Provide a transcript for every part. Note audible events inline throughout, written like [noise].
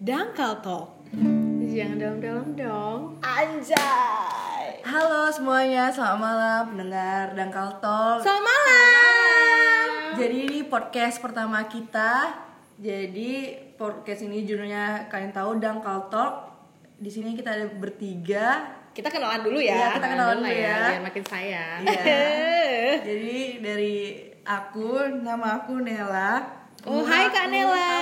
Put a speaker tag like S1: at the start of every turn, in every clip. S1: Dangkal Talk
S2: Jangan dalam-dalam dong.
S1: Anjay
S3: Halo semuanya, selamat malam pendengar Dangkal Tol.
S1: Selamat malam
S3: Jadi ini podcast pertama kita. Jadi podcast ini judulnya kalian tahu Dangkal Talk. Di sini kita ada
S1: [laughs]
S3: bertiga.
S1: Kita kenalan dulu
S3: Iya,
S1: ya
S3: kita kenalan dulu ya.
S2: Biar makin sayang.
S3: Iya. Jadi dari aku, nama aku Nela.
S1: Oh hai Kak Nela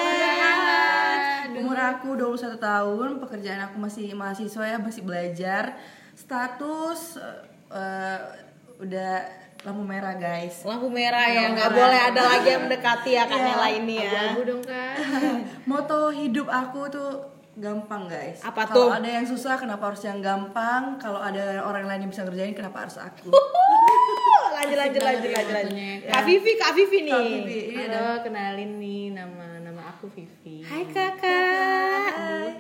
S3: Umur aku 21 tahun, pekerjaan aku masih mahasiswa ya, masih belajar. Status eh, eh, udah lampu merah guys.
S1: Lampu merah ya,
S3: Lampu
S1: nggak
S3: merah.
S1: boleh ada lagi yang mendekati ya Kak
S3: Iya.
S1: Nela ini ya
S2: Abu dong kan.
S3: Moto hidup aku tuh gampang guys.
S1: Apa tuh?
S3: Kalau ada yang susah kenapa harus yang gampang? Kalau ada orang lain yang bisa ngerjain kenapa harus aku?
S1: Uh, Lanjut lanjut lanjut lanjut lanjut Kak Vivi, Kak Vivi nih
S3: ya, Kak Vivi, ini ada
S2: Halo, kenalin nih nama nama aku Vivi.
S1: Hai kakak
S3: Iya,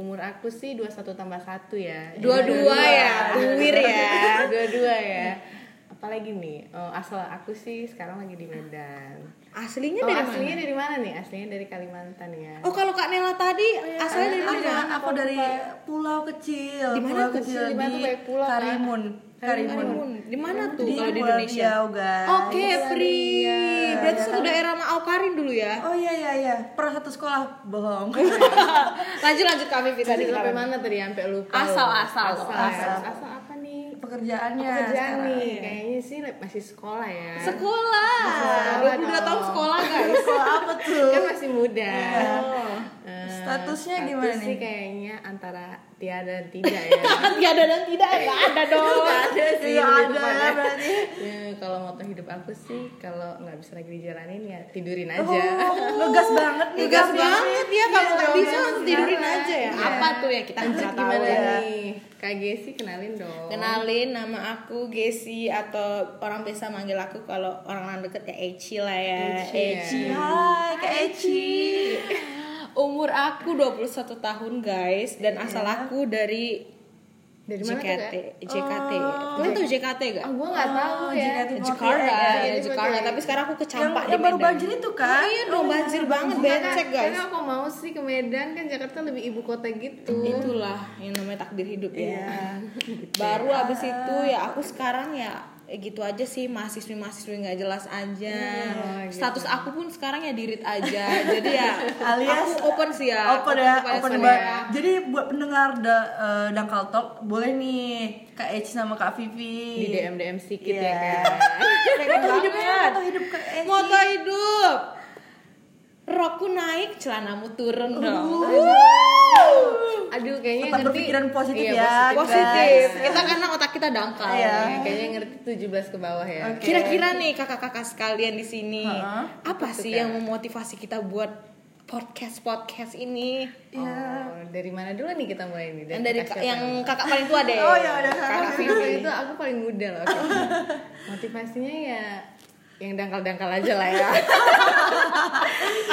S2: Umur aku sih 21 tambah 1 ya.
S1: Dua-dua ya, duwir ya
S2: Dua-dua ya. Apalagi nih, oh, asal aku sih sekarang lagi di Medan.
S1: Aslinya
S2: Oh,
S1: dari
S2: aslinya
S1: mana?
S2: dari mana nih? Aslinya dari Kalimantan ya.
S1: Oh kalau Kak Nela tadi
S3: Oh, iya.
S1: asalnya dari
S3: Ada,
S1: mana?
S3: aku dari pulau kecil.
S1: Di mana
S3: pulau
S1: tuh?
S3: kecil
S2: Di
S3: di,
S2: mana tuh banyak pulau, kan?
S3: Karimun. Karimun.
S1: Di mana tuh
S3: Di,
S1: kalau di
S3: Pulau
S1: Indonesia?
S3: Riau, guys.
S1: Oke, Pri.
S3: Iya.
S1: Berarti satu daerah sama Aukarin dulu ya.
S3: Oh iya iya iya, pernah satu sekolah bohong.
S1: [laughs] lanjut lanjut kami Vita
S2: Tadi
S1: di
S2: sampai mana tadi sampai lupa.
S1: Asal, asal.
S2: asal,
S3: Asal.
S2: asal apa nih?
S3: Pekerjaannya.
S2: Kerjaan
S3: sekarang.
S2: nih, kayaknya sih masih sekolah ya.
S1: Sekolah.
S2: Sekolah
S1: 22 tahun
S2: dong.
S1: sekolah guys. [laughs]
S3: Sekolah apa tuh?
S2: kan masih muda. Eh,
S3: Statusnya
S2: status
S3: gimana nih?
S2: sih kayaknya antara tiada dan tidak ya.
S1: Gak ada dan tidak ya ada dong. [laughs]
S2: Nggak ada sih
S3: Iya,
S2: lebih
S3: ada
S2: tepatnya.
S3: ya, berarti.
S2: Ya, kalau moto hidup aku sih kalau nggak bisa lagi dijalanin ya tidurin
S3: Oh,
S2: aja.
S3: ngegas banget nih. Iya,
S1: Tegas
S3: guys.
S1: banget ya kalau nggak
S2: dong,
S1: bisa
S2: ya,
S1: langsung tidurin
S2: sekarang.
S1: aja ya.
S2: Iya.
S1: Apa tuh ya kita
S2: Lanjut
S1: nggak tahu
S2: gimana
S1: ya.
S2: nih? Kak Gesi kenalin dong.
S1: Kenalin nama aku Gesi atau orang biasa manggil aku kalau orang orang deket ya Eci ya. lah ya.
S2: Eci ya.
S3: Hai, Kak Eci.
S1: Umur aku 21 tahun guys dan asal aku Iya. dari
S2: Dari mana tuh,
S1: JKT, JKT. Kalian tahu JKT gak?
S2: Ah, gua nggak tahu
S3: Oh,
S2: ya.
S3: JKT48.
S1: Jakarta,
S2: iya, iya,
S1: Jakarta.
S2: iya.
S1: Tapi sekarang aku
S3: Yang,
S1: kecampak di
S3: yang baru
S1: Medan.
S3: banjir itu kan?
S1: Iya dong, banjir banget, becek
S2: Karena-
S1: guys.
S2: Karena aku mau sih ke Medan kan Jakarta lebih ibu kota gitu.
S1: kan Itulah yang namanya takdir hidup
S3: Iya.
S1: ya. [laughs] baru abis itu ya aku sekarang ya eh, gitu aja sih mahasiswi mahasiswi nggak jelas aja. Status aku pun sekarang ya dirit aja. Jadi ya
S3: Alias-
S1: aku open sih ya.
S3: open ya,
S1: pada
S3: open
S1: sana
S3: bar.
S1: ya.
S3: Jadi buat pendengar da, eh, Dangkal Talk boleh nih Kak Eci sama Kak Vivi.
S2: Di DM DM sedikit
S3: Iya.
S2: ya kan.
S3: Moto hidupnya, moto hidup Kak Eci.
S1: Moto hidup. Rokku naik, celanamu turun dong.
S2: Aduh kayaknya
S3: Tetap
S2: ngerti.
S3: berpikiran positif
S2: Iya,
S3: ya,
S2: positif.
S1: Positif.
S3: guys.
S1: Kita karena otak kita dangkal.
S3: Iya.
S2: Iya, kayaknya ngerti 17 ke bawah ya.
S3: Oke.
S1: Kira-kira nih kakak-kakak sekalian di sini,
S3: Ha-ha.
S1: apa
S2: Apa
S1: sih
S2: tuh, Kak?
S1: yang memotivasi kita buat podcast podcast ini?
S2: Oh, dari mana dulu nih kita mulai nih?
S1: Yang dari
S2: kakak
S1: ka-
S2: siapa nih?
S1: yang kakak paling tua deh.
S3: Oh, yang ada
S1: kakak
S3: kakak.
S2: Aku
S1: Vivi.
S2: itu aku paling muda loh. oke. Motivasinya ya yang dangkal-dangkal aja lah
S1: [laughs]
S2: ya.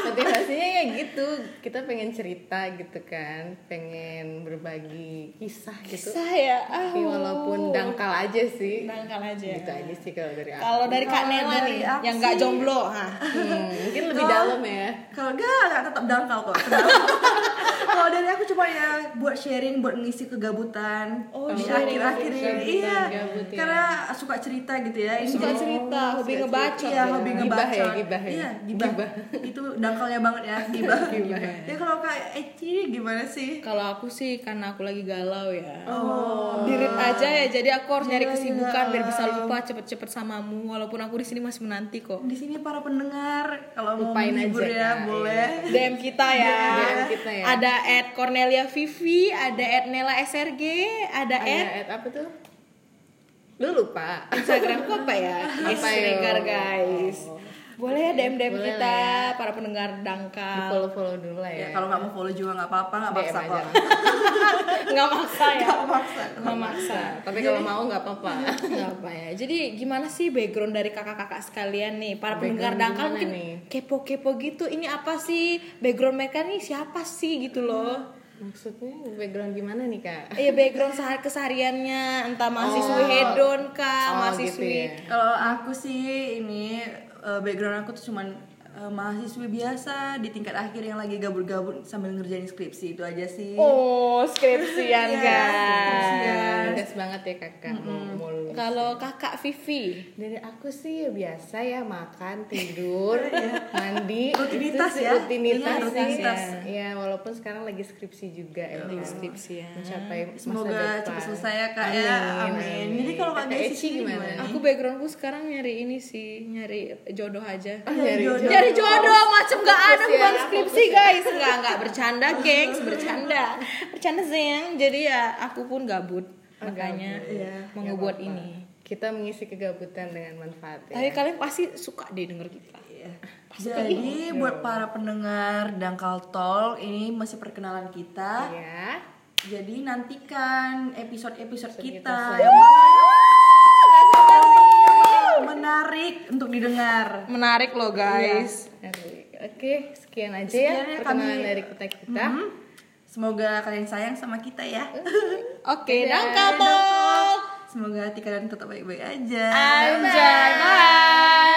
S2: Motivasinya ya gitu, kita pengen cerita gitu kan, pengen berbagi kisah gitu.
S1: Saya, ah,
S2: Tapi walaupun dangkal aja sih.
S1: dangkal aja.
S2: Gitu aja sih kalau dari aku.
S1: Kalau dari Kak
S3: Iya. Kalau
S1: Nela
S3: dari
S1: nih,
S3: aku
S1: yang nggak
S3: sih-
S1: jomblo, ha.
S2: Hmm, mungkin lebih
S3: Kalau-
S2: dalam ya.
S3: Kalau enggak, enggak tetap dangkal kok. Kenapa? [laughs] Kalau dari aku cuma ya buat sharing, buat ngisi kegabutan
S1: Oh,
S3: di
S1: sharing,
S3: akhir-akhir ini.
S2: sharing,
S3: Iya,
S2: gabut ya.
S3: karena suka cerita gitu ya. Ini
S1: Suka
S3: jadi-
S1: cerita, hobi
S2: suka
S1: ngebacot.
S3: Iya,
S1: ya.
S3: hobi
S2: Gibah
S3: ngebacot.
S2: ya, gibah ya.
S3: Iya, gibah.
S2: Gibah.
S3: Itu dangkalnya banget ya, gibah.
S2: [laughs] Gibah.
S3: Ya kalau Kak Eci gimana sih?
S1: Kalau aku sih karena aku lagi galau ya.
S3: Oh.
S1: Dirit aja ya. Jadi aku harus
S3: Iya,
S1: nyari kesibukan biar bisa lupa cepet-cepet samamu. Walaupun aku di sini masih menanti kok.
S3: di sini para pendengar kalau mau
S2: Lupain
S3: menghibur
S2: aja, iya.
S3: ya
S2: Kak.
S3: boleh
S1: DM kita ya.
S2: DM kita ya.
S1: Ada at Cornelia Vivi, ada at Nela SRG, ada
S2: Ada
S1: at
S2: ad apa tuh? Lu lupa.
S1: Instagramku apa ya?
S2: Apa yo?
S1: Regar guys. Boleh ya DM DM
S2: Boleh
S1: kita
S2: lah ya.
S1: para pendengar dangkal.
S2: Follow-follow dulu lah
S3: ya
S1: Iya.
S2: ya.
S3: kalau nggak mau follow juga nggak apa-apa nggak
S2: DM
S3: maksa
S2: aja
S3: kok
S2: lah.
S1: [laughs] Nggak maksa ya.
S3: [laughs] nggak maksa
S1: Nggak maksa.
S2: Tapi kalau mau nggak apa-apa.
S1: Nggak apa ya. Jadi gimana sih background dari kakak-kakak sekalian nih? Para pendengar
S2: Background
S1: dangkal
S2: gimana
S1: mungkin
S2: nih?
S1: kepo-kepo gitu. Ini apa sih background mereka nih? Siapa sih gitu loh?
S2: Maksudnya background gimana nih kak?
S1: Iya background sehari kesehariannya entah mahasiswi hedon kah,
S2: Oh,
S1: mahasiswi
S2: gitu ya.
S3: kalau aku sih ini eh, background aku tuh cuman eh, eh, mahasiswi biasa di tingkat akhir yang lagi gabur-gabur sambil ngerjain skripsi itu aja sih.
S1: Oh, skripsian
S3: Iya,
S1: kan.
S3: skripsian.
S2: Gas banget ya kakak mau lulus.
S1: Kalau kakak Vivi,
S2: Dari aku sih ya biasa ya makan,
S3: [laughs]
S2: tidur, mandi.
S3: Iya. Rutinitas
S2: Itu sih
S3: ya.
S2: Rutinitas,
S3: Iya, rutinitas. Iya.
S2: sih. Ya walaupun sekarang lagi skripsi juga ya. kan.
S1: skripsian.
S2: Mencapai masa
S3: Semoga cepat
S2: depan.
S3: selesai ya kak ya.
S2: Amin,
S3: Amin.
S2: amin.
S3: Jadi kalau kak
S2: Kakak
S3: Desi
S2: Eci
S3: sendiri
S2: gimana?
S3: gimana?
S1: Aku backgroundku sekarang nyari ini sih, nyari jodoh aja.
S2: Ah, nyari
S3: Jodoh.
S2: jodoh.
S1: Nyari jodoh macam gak ada
S2: Fokus ya,
S1: bukan
S2: fokus
S1: skripsi guys, nggak nggak bercanda gengs, bercanda, bercanda sayang. Jadi ya aku pun gabut,
S2: Oh,
S1: makanya
S3: Iya.
S1: mau ngebuat ini.
S2: Kita mengisi kegabutan dengan manfaat ya.
S1: Tapi kalian pasti suka deh denger kita.
S2: Ah,
S3: Iya. Jadi buat para pendengar dangkal talk ini masih perkenalan kita.
S2: Ya.
S3: Jadi nantikan episode-episode
S2: kita
S3: kita,
S2: selanjutnya.
S3: yang mana- menarik untuk didengar.
S1: Menarik loh
S2: Iya.
S1: guys.
S2: Oke, sekian aja
S3: Sekian ya
S2: ya perkenalan
S3: kami-
S2: dari kita kita.
S3: Hmm? Semoga kalian sayang sama kita ya.
S2: Iya.
S1: Oke, dangkal talk.
S3: Semoga hati kalian tetap baik-baik aja.
S1: Anjay, bye.